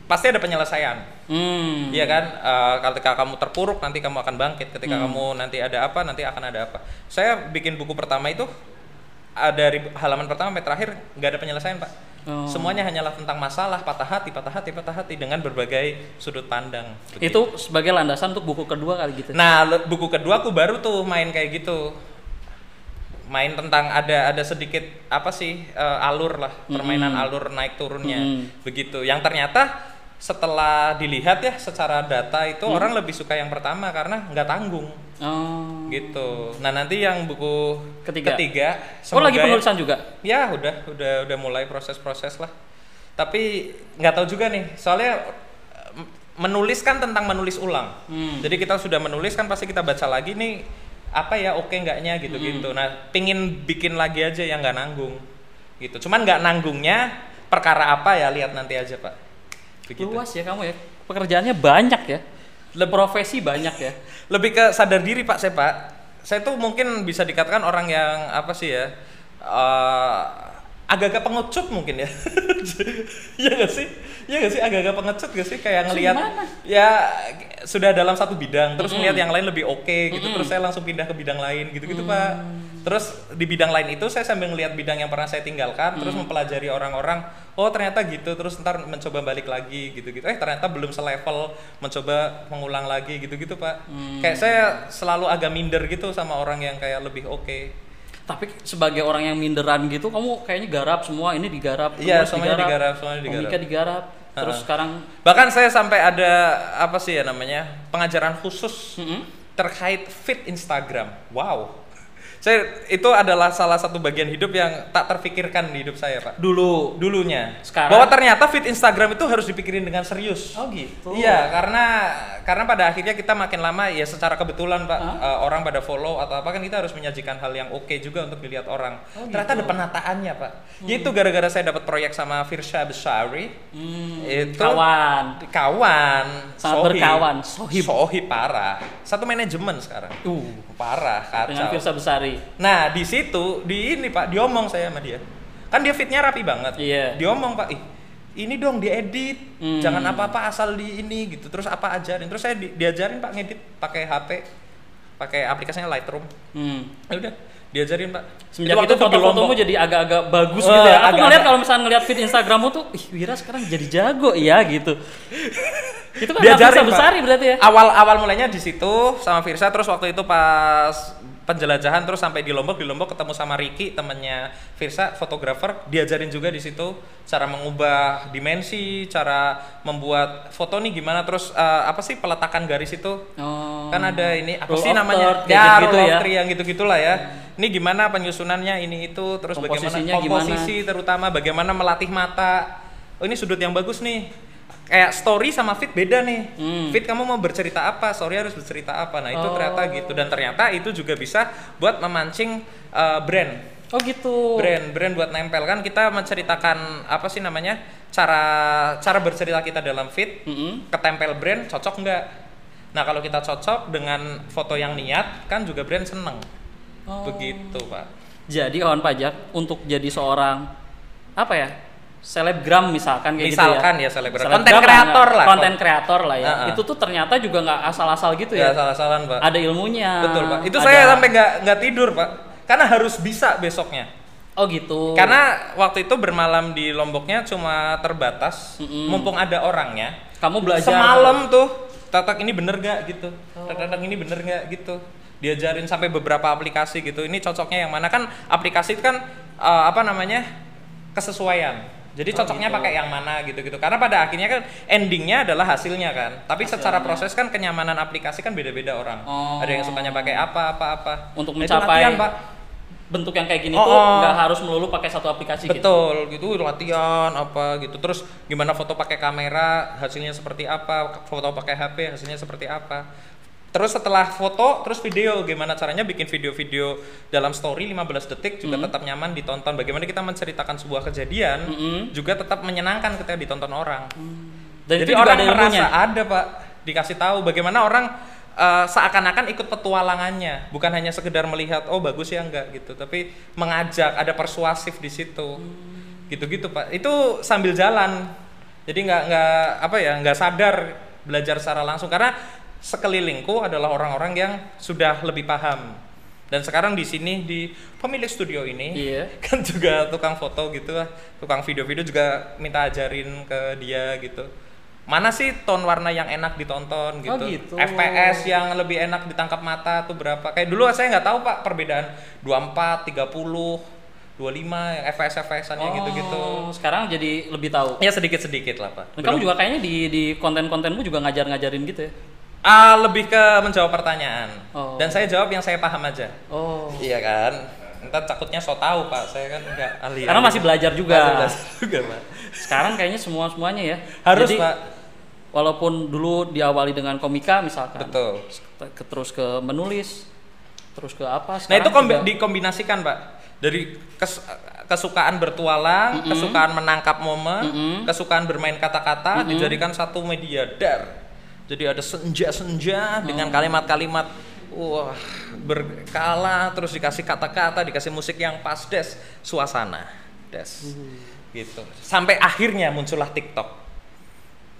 Speaker 2: pasti ada penyelesaian
Speaker 1: Hmm.
Speaker 2: Iya kan, Eh, ketika kamu terpuruk nanti kamu akan bangkit. Ketika kamu nanti ada apa, nanti akan ada apa. Saya bikin buku pertama itu ada ribu- halaman pertama sampai terakhir nggak ada penyelesaian pak.
Speaker 1: Oh.
Speaker 2: Semuanya hanyalah tentang masalah, patah hati, patah hati, patah hati dengan berbagai sudut pandang. Begitu.
Speaker 1: Itu sebagai landasan untuk buku kedua kali gitu.
Speaker 2: Nah le- buku kedua aku baru tuh main kayak gitu, main tentang ada ada sedikit apa sih eh, alur lah permainan alur naik turunnya
Speaker 1: Mm.
Speaker 2: begitu. Yang ternyata setelah dilihat ya secara data itu orang lebih suka yang pertama karena nggak tanggung
Speaker 1: Oh.
Speaker 2: gitu. Nah nanti yang buku
Speaker 1: Ketiga. oh
Speaker 2: semoga
Speaker 1: lagi
Speaker 2: ya-
Speaker 1: penulisan juga.
Speaker 2: Ya udah udah udah mulai proses-proses lah. Tapi nggak tahu juga nih soalnya eh, menuliskan tentang menulis ulang.
Speaker 1: Hmm.
Speaker 2: Jadi kita sudah menulis kan pasti kita baca lagi nih apa ya oke enggaknya gitu-gitu. Nah, pingin bikin lagi aja yang nggak nanggung gitu. Cuman nggak nanggungnya perkara apa ya lihat nanti aja pak. Begitu.
Speaker 1: Luas ya kamu ya. Pekerjaannya banyak ya. Le profesi banyak ya.
Speaker 2: Lebih ke sadar diri pak saya pak. Saya tuh mungkin bisa dikatakan orang yang apa sih ya eh, agak-agak pengecut mungkin ya. Iya gak sih? Iya gak sih? Agak-agak pengecut gak sih? Kayak ngelihat
Speaker 1: Gimana?
Speaker 2: ya sudah dalam satu bidang terus
Speaker 1: Mm-mm.
Speaker 2: melihat yang lain lebih oke gitu
Speaker 1: Mm-mm. Mm.
Speaker 2: terus saya langsung pindah ke bidang lain gitu-gitu Pak. Terus di bidang lain itu saya sambil ngelihat bidang yang pernah saya tinggalkan terus
Speaker 1: Mm.
Speaker 2: mempelajari orang-orang oh ternyata gitu terus ntar mencoba balik lagi gitu-gitu. Eh ternyata belum selevel mencoba mengulang lagi gitu-gitu Pak.
Speaker 1: Mm.
Speaker 2: Kayak saya selalu agak minder gitu sama orang yang kayak lebih oke.
Speaker 1: Tapi sebagai orang yang minderan gitu, kamu kayaknya garap semua ini digarap.
Speaker 2: Iya,
Speaker 1: terus
Speaker 2: semuanya digarap, semuanya digarap.
Speaker 1: komika digarap. Terus
Speaker 2: Ha-ha.
Speaker 1: sekarang
Speaker 2: Bahkan saya sampai ada apa sih ya namanya? pengajaran khusus
Speaker 1: Mm-mm.
Speaker 2: terkait feed Instagram. Wow. Saya itu adalah salah satu bagian hidup yang tak terfikirkan di hidup saya, Pak.
Speaker 1: dulu
Speaker 2: Dulunya.
Speaker 1: Sekarang?
Speaker 2: Bahwa ternyata feed Instagram itu harus dipikirin dengan serius.
Speaker 1: Oh gitu.
Speaker 2: Iya, karena karena pada akhirnya kita makin lama ya secara kebetulan Pak
Speaker 1: Hah?
Speaker 2: eh, orang pada follow atau apa kan kita harus menyajikan hal yang oke juga untuk dilihat orang.
Speaker 1: Oh,
Speaker 2: Ternyata
Speaker 1: gitu.
Speaker 2: ada penataannya Pak. Itu gara-gara saya dapat proyek sama Firsha Besari.
Speaker 1: Hmm,
Speaker 2: Itu-
Speaker 1: kawan.
Speaker 2: Kawan,
Speaker 1: Sangat berkawan, sohib.
Speaker 2: sohib parah. Satu manajemen sekarang.
Speaker 1: Uh,
Speaker 2: Parah,
Speaker 1: dengan
Speaker 2: kacau.
Speaker 1: Firsa Besari.
Speaker 2: Nah, di situ di ini Pak, diomong saya sama dia. Kan dia fitnya rapi banget.
Speaker 1: Iya.
Speaker 2: Diomong Pak, ih ini dong diedit,
Speaker 1: Hmm.
Speaker 2: jangan apa-apa asal di ini gitu. Terus apa ajarin? Terus saya di- diajarin Pak ngedit pakai HP, pakai aplikasinya Lightroom.
Speaker 1: Hmm.
Speaker 2: Ya udah, diajarin Pak.
Speaker 1: Semenjak itu,
Speaker 2: waktu di
Speaker 1: foto-fotomu
Speaker 2: Lombok.
Speaker 1: jadi agak-agak bagus
Speaker 2: Eh,
Speaker 1: gitu ya. Aku
Speaker 2: agak-agak.
Speaker 1: ngeliat kalau misalnya ngeliat feed Instagrammu tuh, ih Wira sekarang jadi jago ya gitu. itu kan
Speaker 2: Diajarin,
Speaker 1: Firsa
Speaker 2: Pak.
Speaker 1: Besari berarti ya.
Speaker 2: awal awal mulanya di situ sama Firsa terus waktu itu pas penjelajahan terus sampai di Lombok di Lombok ketemu sama Riki temennya Firsa fotografer diajarin juga di situ cara mengubah dimensi cara membuat foto nih gimana terus eh, apa sih peletakan garis itu
Speaker 1: Oh.
Speaker 2: kan ada ini apa
Speaker 1: Rule
Speaker 2: sih
Speaker 1: of third,
Speaker 2: namanya
Speaker 1: kayak
Speaker 2: rule
Speaker 1: gitu
Speaker 2: of
Speaker 1: ya. Hmm.
Speaker 2: three yang gitu gitulah ya ini gimana penyusunannya ini itu terus bagaimana
Speaker 1: Komposisinya
Speaker 2: komposisi terutama bagaimana melatih mata oh ini sudut yang bagus nih kayak story sama fit beda nih
Speaker 1: Hmm.
Speaker 2: fit kamu mau bercerita apa story harus bercerita apa nah itu
Speaker 1: Oh.
Speaker 2: ternyata gitu dan ternyata itu juga bisa buat memancing eh, brand
Speaker 1: Oh gitu.
Speaker 2: brand brand buat nempel kan kita menceritakan apa sih namanya cara cara bercerita kita dalam fit
Speaker 1: Mm-mm.
Speaker 2: ketempel brand cocok nggak nah kalau kita cocok dengan foto yang niat kan juga brand seneng
Speaker 1: Oh.
Speaker 2: begitu pak
Speaker 1: Jadi kawan pajak untuk jadi seorang apa ya? Selebgram misalkan kayak
Speaker 2: Misalkan
Speaker 1: gitu ya.
Speaker 2: ya, selebgram.
Speaker 1: Selebgram
Speaker 2: Konten kreator
Speaker 1: nggak-
Speaker 2: lah.
Speaker 1: Konten kreator lah ya.
Speaker 2: Ha-ha.
Speaker 1: Itu tuh ternyata juga nggak asal-asal gitu
Speaker 2: ya
Speaker 1: ya.
Speaker 2: salah-salahan pak
Speaker 1: Ada ilmunya.
Speaker 2: betul pak itu
Speaker 1: ada-
Speaker 2: saya sampai nggak nggak tidur pak karena harus bisa besoknya
Speaker 1: Oh gitu.
Speaker 2: karena waktu itu bermalam di lomboknya cuma terbatas
Speaker 1: Mm-mm.
Speaker 2: mumpung ada orangnya
Speaker 1: kamu belajar Oh.
Speaker 2: semalam tuh tatak ini bener gak gitu tatak ini bener gak gitu diajarin sampai beberapa aplikasi gitu ini cocoknya yang mana kan aplikasi itu kan eh, apa namanya kesesuaian. Jadi
Speaker 1: Oh,
Speaker 2: cocoknya
Speaker 1: gitu.
Speaker 2: pakai yang mana gitu-gitu. Karena pada akhirnya kan endingnya adalah hasilnya kan. Tapi
Speaker 1: Hasilnya.
Speaker 2: secara proses kan kenyamanan aplikasi kan beda-beda orang.
Speaker 1: Oh.
Speaker 2: Ada yang sukanya pakai apa apa apa.
Speaker 1: Untuk
Speaker 2: Nah, itu
Speaker 1: mencapai
Speaker 2: latihan, Pak.
Speaker 1: bentuk yang kayak gini
Speaker 2: Oh,
Speaker 1: tuh
Speaker 2: oh.
Speaker 1: nggak harus melulu pakai satu aplikasi gitu.
Speaker 2: Betul gitu latihan apa gitu. Terus gimana foto pakai kamera hasilnya seperti apa, foto pakai HP hasilnya seperti apa. Terus setelah foto, terus video gimana caranya bikin video-video dalam story 15 detik juga tetap nyaman ditonton. Bagaimana kita menceritakan sebuah kejadian
Speaker 1: Mm-mm.
Speaker 2: juga tetap menyenangkan ketika ditonton orang.
Speaker 1: Dan itu
Speaker 2: Jadi
Speaker 1: juga
Speaker 2: orang
Speaker 1: ada
Speaker 2: merasa
Speaker 1: ilmunya.
Speaker 2: ada pak dikasih tahu bagaimana orang eh, seakan-akan ikut petualangannya, bukan hanya sekedar melihat oh bagus ya enggak gitu, tapi mengajak ada persuasif di situ, gitu-gitu pak. Itu sambil jalan, jadi nggak nggak apa ya nggak sadar belajar secara langsung karena sekelilingku adalah orang-orang yang sudah lebih paham dan sekarang di sini di pemilik studio ini
Speaker 1: Iya.
Speaker 2: kan juga tukang foto gitu lah tukang video-video juga minta ajarin ke dia gitu mana sih tone warna yang enak ditonton gitu,
Speaker 1: Oh, gitu.
Speaker 2: fps yang lebih enak ditangkap mata tuh berapa kayak dulu saya nggak tahu pak perbedaan 24 30 25 yang fps fpsannya
Speaker 1: Oh,
Speaker 2: gitu-gitu
Speaker 1: Sekarang jadi lebih tahu.
Speaker 2: ya sedikit sedikit lah pak
Speaker 1: Dan kamu
Speaker 2: Belum-
Speaker 1: juga kayaknya di di konten-kontenmu juga ngajar-ngajarin gitu ya.
Speaker 2: Ah, lebih ke menjawab pertanyaan
Speaker 1: Oh.
Speaker 2: dan saya jawab yang saya paham aja
Speaker 1: Oh.
Speaker 2: iya kan entar takutnya so tahu pak saya kan nggak ahli
Speaker 1: Karena masih belajar juga.
Speaker 2: Masih belajar juga pak
Speaker 1: Sekarang kayaknya semua-semuanya ya.
Speaker 2: harus
Speaker 1: Jadi,
Speaker 2: pak
Speaker 1: Walaupun dulu diawali dengan komika misalkan.
Speaker 2: betul
Speaker 1: Ke- Terus ke menulis, terus ke apa?
Speaker 2: Nah
Speaker 1: sekarang
Speaker 2: itu kombi-
Speaker 1: juga-
Speaker 2: dikombinasikan pak dari kes- kesukaan bertualang, kesukaan menangkap momen, kesukaan bermain kata-kata dijadikan satu media dar. Jadi ada senja-senja dengan kalimat-kalimat wah berkala terus dikasih kata-kata, dikasih musik yang pas des suasana des
Speaker 1: Mm-hmm.
Speaker 2: gitu. Sampai akhirnya muncullah TikTok.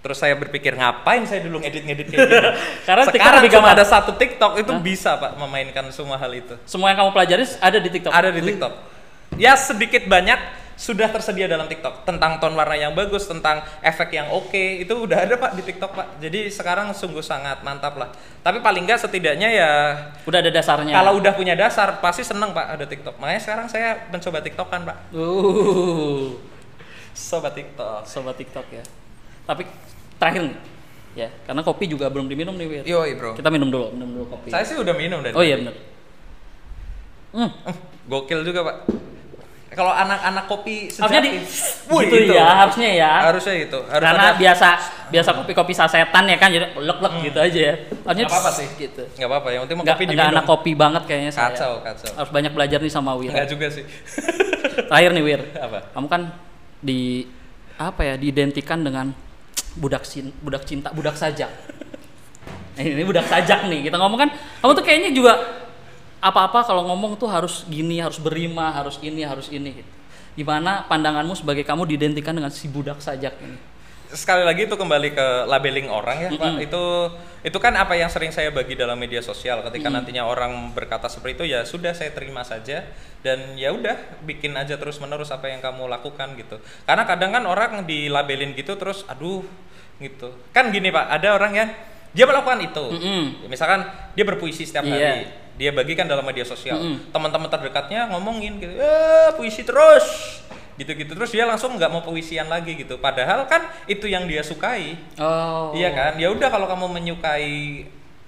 Speaker 2: Terus saya berpikir ngapain saya dulu ngedit-ngedit kayak gini.
Speaker 1: Karena TikTok
Speaker 2: sekarang
Speaker 1: lebih
Speaker 2: cuma
Speaker 1: gampang.
Speaker 2: ada satu TikTok itu bisa Pak memainkan semua hal itu
Speaker 1: semua yang kamu pelajari ada di TikTok.
Speaker 2: ada di TikTok. Ya sedikit banyak sudah tersedia dalam TikTok tentang tone warna yang bagus, tentang efek yang oke itu udah ada pak di TikTok pak. Jadi sekarang sungguh sangat mantap lah. Tapi paling nggak setidaknya ya
Speaker 1: Udah ada dasarnya.
Speaker 2: kalau udah punya dasar pasti seneng pak ada TikTok. Makanya sekarang saya mencoba TikTokan pak.
Speaker 1: Uh,
Speaker 2: Sobat TikTok.
Speaker 1: sobat TikTok ya. Tapi terakhir nih, ya karena kopi juga belum diminum nih Wir.
Speaker 2: Yoi bro.
Speaker 1: Kita minum dulu, minum dulu kopi.
Speaker 2: Iya. Saya sih udah minum dari.
Speaker 1: oh iya benar. Hmm.
Speaker 2: Gokil juga pak. Kalau anak-anak kopi
Speaker 1: Harusnya di,
Speaker 2: sejati- Wih, Eh,
Speaker 1: gitu, ya, harusnya ya.
Speaker 2: Harusnya itu. Harus
Speaker 1: karena
Speaker 2: ada- Hmm.
Speaker 1: biasa biasa kopi-kopi sasetan ya kan, jadi lek-lek gitu aja ya. Harusnya
Speaker 2: Nggak apa-apa sih.
Speaker 1: Gitu.
Speaker 2: nggak apa-apa yang penting
Speaker 1: Nggak,
Speaker 2: kopi
Speaker 1: nggak
Speaker 2: diminum.
Speaker 1: anak kopi banget kayaknya saya.
Speaker 2: Kacau kacau.
Speaker 1: Harus banyak belajar nih sama Wir.
Speaker 2: Enggak juga sih.
Speaker 1: Terakhir nih Wir.
Speaker 2: Apa?
Speaker 1: kamu kan di apa ya diidentikan dengan budak sin budak cinta budak sajak Eh, ini budak sajak nih kita ngomong kan kamu tuh kayaknya juga apa-apa kalau ngomong tuh harus gini harus berima harus ini harus ini gitu. gimana pandanganmu sebagai kamu diidentikan dengan si budak sajak ini
Speaker 2: sekali lagi itu kembali ke labeling orang ya pak itu itu kan apa yang sering saya bagi dalam media sosial ketika nantinya orang berkata seperti itu ya sudah saya terima saja dan ya udah bikin aja terus menerus apa yang kamu lakukan gitu karena kadang kan orang dilabelin gitu terus aduh gitu kan gini pak ada orang yang dia melakukan itu
Speaker 1: Mm-mm.
Speaker 2: Ya, misalkan dia berpuisi setiap
Speaker 1: Iya.
Speaker 2: hari dia bagikan dalam media sosial
Speaker 1: Mm-mm.
Speaker 2: teman-teman terdekatnya ngomongin gitu eh puisi terus gitu-gitu terus dia langsung nggak mau puisian lagi gitu padahal kan itu yang dia sukai
Speaker 1: oh
Speaker 2: iya kan ya udah kalau kamu menyukai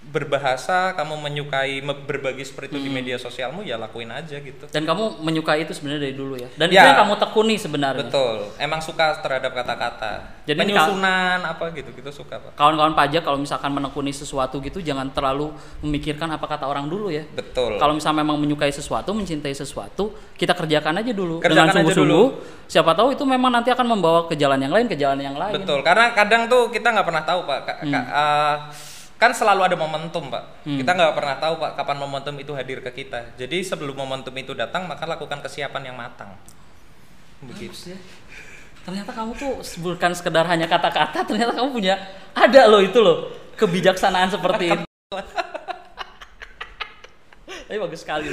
Speaker 2: berbahasa kamu menyukai me- berbagi seperti itu di media sosialmu ya lakuin aja gitu
Speaker 1: dan kamu menyukai itu sebenarnya dari dulu ya dan itu
Speaker 2: Ya.
Speaker 1: yang kamu tekuni sebenarnya
Speaker 2: betul emang suka terhadap kata-kata
Speaker 1: Jadi ini kal-
Speaker 2: penyusunan apa gitu-gitu suka pak
Speaker 1: kawan-kawan pajak kalau misalkan menekuni sesuatu gitu jangan terlalu memikirkan apa kata orang dulu ya
Speaker 2: betul
Speaker 1: Kalau misalnya memang menyukai sesuatu, mencintai sesuatu, kita kerjakan aja dulu dengan
Speaker 2: Kerjakan aja
Speaker 1: sungguh-sungguh. Siapa tahu itu memang nanti akan membawa ke jalan yang lain, ke jalan yang lain.
Speaker 2: Betul, karena kadang tuh kita nggak pernah tahu pak. Ka- ka- eh, kan selalu ada momentum pak. Kita nggak pernah tahu pak kapan momentum itu hadir ke kita. Jadi sebelum momentum itu datang maka lakukan kesiapan yang matang. Begitu.
Speaker 1: Bagus ya. Ternyata kamu tuh bukan sekedar hanya kata-kata, ternyata kamu punya ada loh itu loh kebijaksanaan seperti itu. Tapi bagus sekali.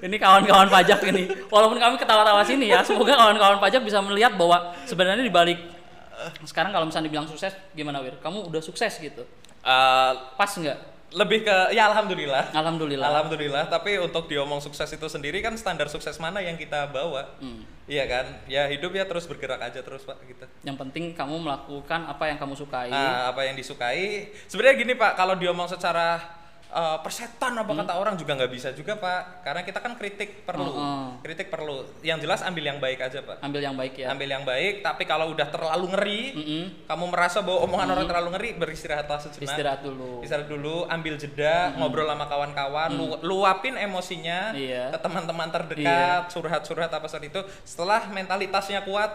Speaker 1: Ini kawan-kawan pajak ini. Walaupun kami ketawa-tawa sini ya, semoga kawan-kawan pajak bisa melihat bahwa sebenarnya di balik sekarang kalau misalnya dibilang sukses, gimana Wir? Kamu udah sukses gitu.
Speaker 2: Eh,
Speaker 1: Pas nggak?
Speaker 2: lebih ke ya alhamdulillah.
Speaker 1: Alhamdulillah.
Speaker 2: Alhamdulillah, tapi untuk diomong sukses itu sendiri kan standar sukses mana yang kita bawa?
Speaker 1: Hmm.
Speaker 2: Iya kan? Ya hidup ya terus bergerak aja terus Pak gitu.
Speaker 1: Yang penting kamu melakukan apa yang kamu sukai.
Speaker 2: Ah, apa yang disukai. Sebenarnya gini Pak, kalau diomong secara eh, persetan
Speaker 1: Hmm.
Speaker 2: apa kata orang juga nggak bisa juga Pak, karena kita kan kritik perlu.
Speaker 1: Heeh.
Speaker 2: Kritik perlu. Yang jelas ambil yang baik aja Pak.
Speaker 1: Ambil yang baik ya. Hmm.
Speaker 2: Ambil yang baik, tapi kalau udah terlalu ngeri,
Speaker 1: Mm-mm.
Speaker 2: kamu merasa bahwa omongan
Speaker 1: Hmm.
Speaker 2: orang terlalu ngeri, beristirahatlah sejenak.
Speaker 1: Istirahat dulu.
Speaker 2: Istirahat dulu, ambil
Speaker 1: Hmm.
Speaker 2: jeda, ngobrol sama kawan-kawan, lu- luapin emosinya
Speaker 1: Iya.
Speaker 2: ke teman-teman terdekat, curhat-curhat apa saat itu. Setelah mentalitasnya kuat,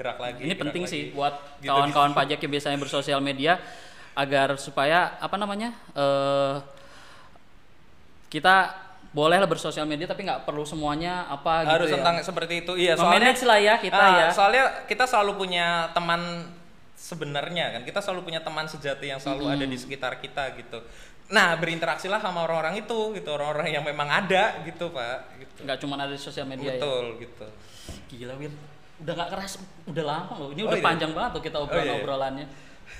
Speaker 2: gerak lagi.
Speaker 1: Ini
Speaker 2: gerak
Speaker 1: penting
Speaker 2: lagi.
Speaker 1: sih buat
Speaker 2: Gitu.
Speaker 1: kawan-kawan pajak yang biasanya bersosial media agar supaya apa namanya eh kita bolehlah bersosial media tapi nggak perlu semuanya apa
Speaker 2: harus
Speaker 1: gitu
Speaker 2: tentang
Speaker 1: ya.
Speaker 2: seperti itu. Iya, soalnya
Speaker 1: Memanage lah ya kita
Speaker 2: Ah,
Speaker 1: ya.
Speaker 2: Soalnya kita selalu punya teman sebenarnya kan. Kita selalu punya teman sejati yang selalu ada di sekitar kita gitu. Nah, berinteraksilah sama orang-orang itu gitu, orang-orang yang memang ada gitu, Pak. Gitu.
Speaker 1: Nggak cuma ada di sosial media ya.
Speaker 2: Betul gitu.
Speaker 1: Gila Wir, udah nggak keras, udah lama loh. Ini
Speaker 2: Oh,
Speaker 1: udah
Speaker 2: iya.
Speaker 1: panjang banget tuh kita obrolan
Speaker 2: iya.
Speaker 1: obrolannya.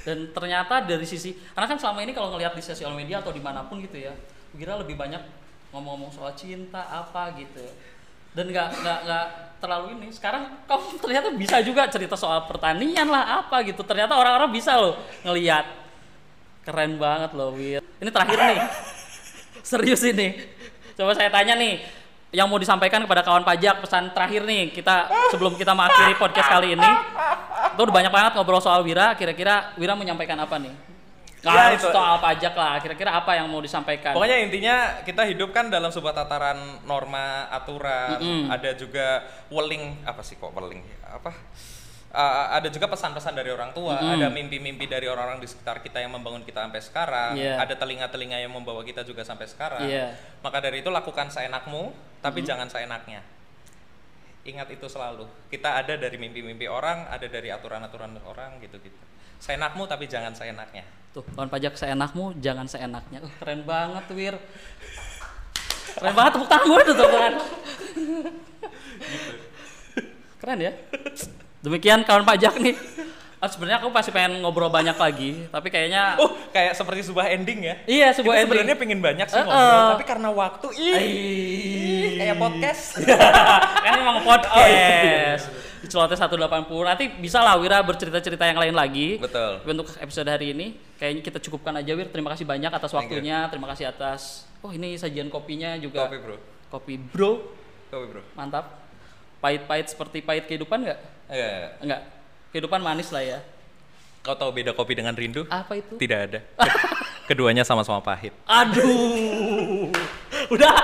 Speaker 1: Dan ternyata dari sisi, karena kan selama ini kalau ngelihat di sosial media atau dimanapun gitu ya, kira lebih banyak ngomong-ngomong soal cinta apa gitu. Dan nggak nggak nggak terlalu ini. Sekarang kamu ternyata bisa juga cerita soal pertanian lah apa gitu. Ternyata orang-orang bisa loh ngelihat. Keren banget loh Wir. Ini terakhir nih. Serius ini. Coba saya tanya nih, yang mau disampaikan kepada kawan pajak pesan terakhir nih kita sebelum kita mengakhiri podcast kali ini. Itu udah banyak banget ngobrol soal Wira, kira-kira Wira menyampaikan apa nih? Nggak
Speaker 2: Ya,
Speaker 1: harus
Speaker 2: itu-
Speaker 1: soal pajak lah, kira-kira apa yang mau disampaikan?
Speaker 2: Pokoknya intinya kita hidup kan dalam sebuah tataran norma, aturan, ada juga weling apa sih kok weling? Apa? Eh, ada juga pesan-pesan dari orang tua, ada mimpi-mimpi dari orang-orang di sekitar kita yang membangun kita sampai sekarang,
Speaker 1: Iya.
Speaker 2: ada telinga-telinga yang membawa kita juga sampai sekarang.
Speaker 1: Iya.
Speaker 2: Maka dari itu lakukan seenakmu,
Speaker 1: Mhm.
Speaker 2: tapi jangan seenaknya. Ingat itu selalu. Kita ada dari mimpi-mimpi orang, ada dari aturan-aturan orang gitu-gitu. Seenakmu tapi jangan seenaknya.
Speaker 1: Tuh, kawan pajak seenakmu, jangan seenaknya. Uh, keren banget Wir. Keren banget tepuk tangan gue tuh kan. tepuk tangan. Keren ya. Demikian kawan pajak nih. Ah, Sebenarnya aku pasti pengen ngobrol banyak lagi, tapi kayaknya
Speaker 2: Oh, kayak seperti sebuah ending ya.
Speaker 1: Iya, Ah. sebuah
Speaker 2: Kita
Speaker 1: ending.
Speaker 2: sebenarnya pengen banyak sih
Speaker 1: Eh,
Speaker 2: ngobrol,
Speaker 1: eh.
Speaker 2: tapi karena waktu ih, ih, kayak podcast.
Speaker 1: kan emang
Speaker 2: Oh, iya.
Speaker 1: podcast. Di Celoteh 180. Nanti bisa lah Wira bercerita-cerita yang lain lagi.
Speaker 2: Betul.
Speaker 1: Tapi untuk episode hari ini kayaknya kita cukupkan aja Wir. Terima kasih banyak atas
Speaker 2: Thank you.
Speaker 1: waktunya, terima kasih atas Oh, ini sajian kopinya juga.
Speaker 2: Kopi, Bro.
Speaker 1: Kopi Bro.
Speaker 2: Kopi, Bro.
Speaker 1: Mantap. Pahit-pahit seperti pahit kehidupan nggak?
Speaker 2: Eh,
Speaker 1: Enggak. Kehidupan manis lah ya.
Speaker 2: kau tahu beda kopi dengan rindu?
Speaker 1: Apa itu?
Speaker 2: Tidak ada. Keduanya sama-sama pahit.
Speaker 1: Aduh. Udah,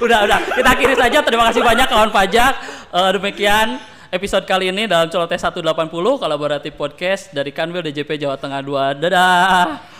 Speaker 1: udah, udah. Kita akhiri saja. Terima kasih banyak kawan pajak. Eh, demikian episode kali ini dalam Celoteh 180 kolaboratif podcast dari Kanwil DJP Jawa Tengah 2. Dadah.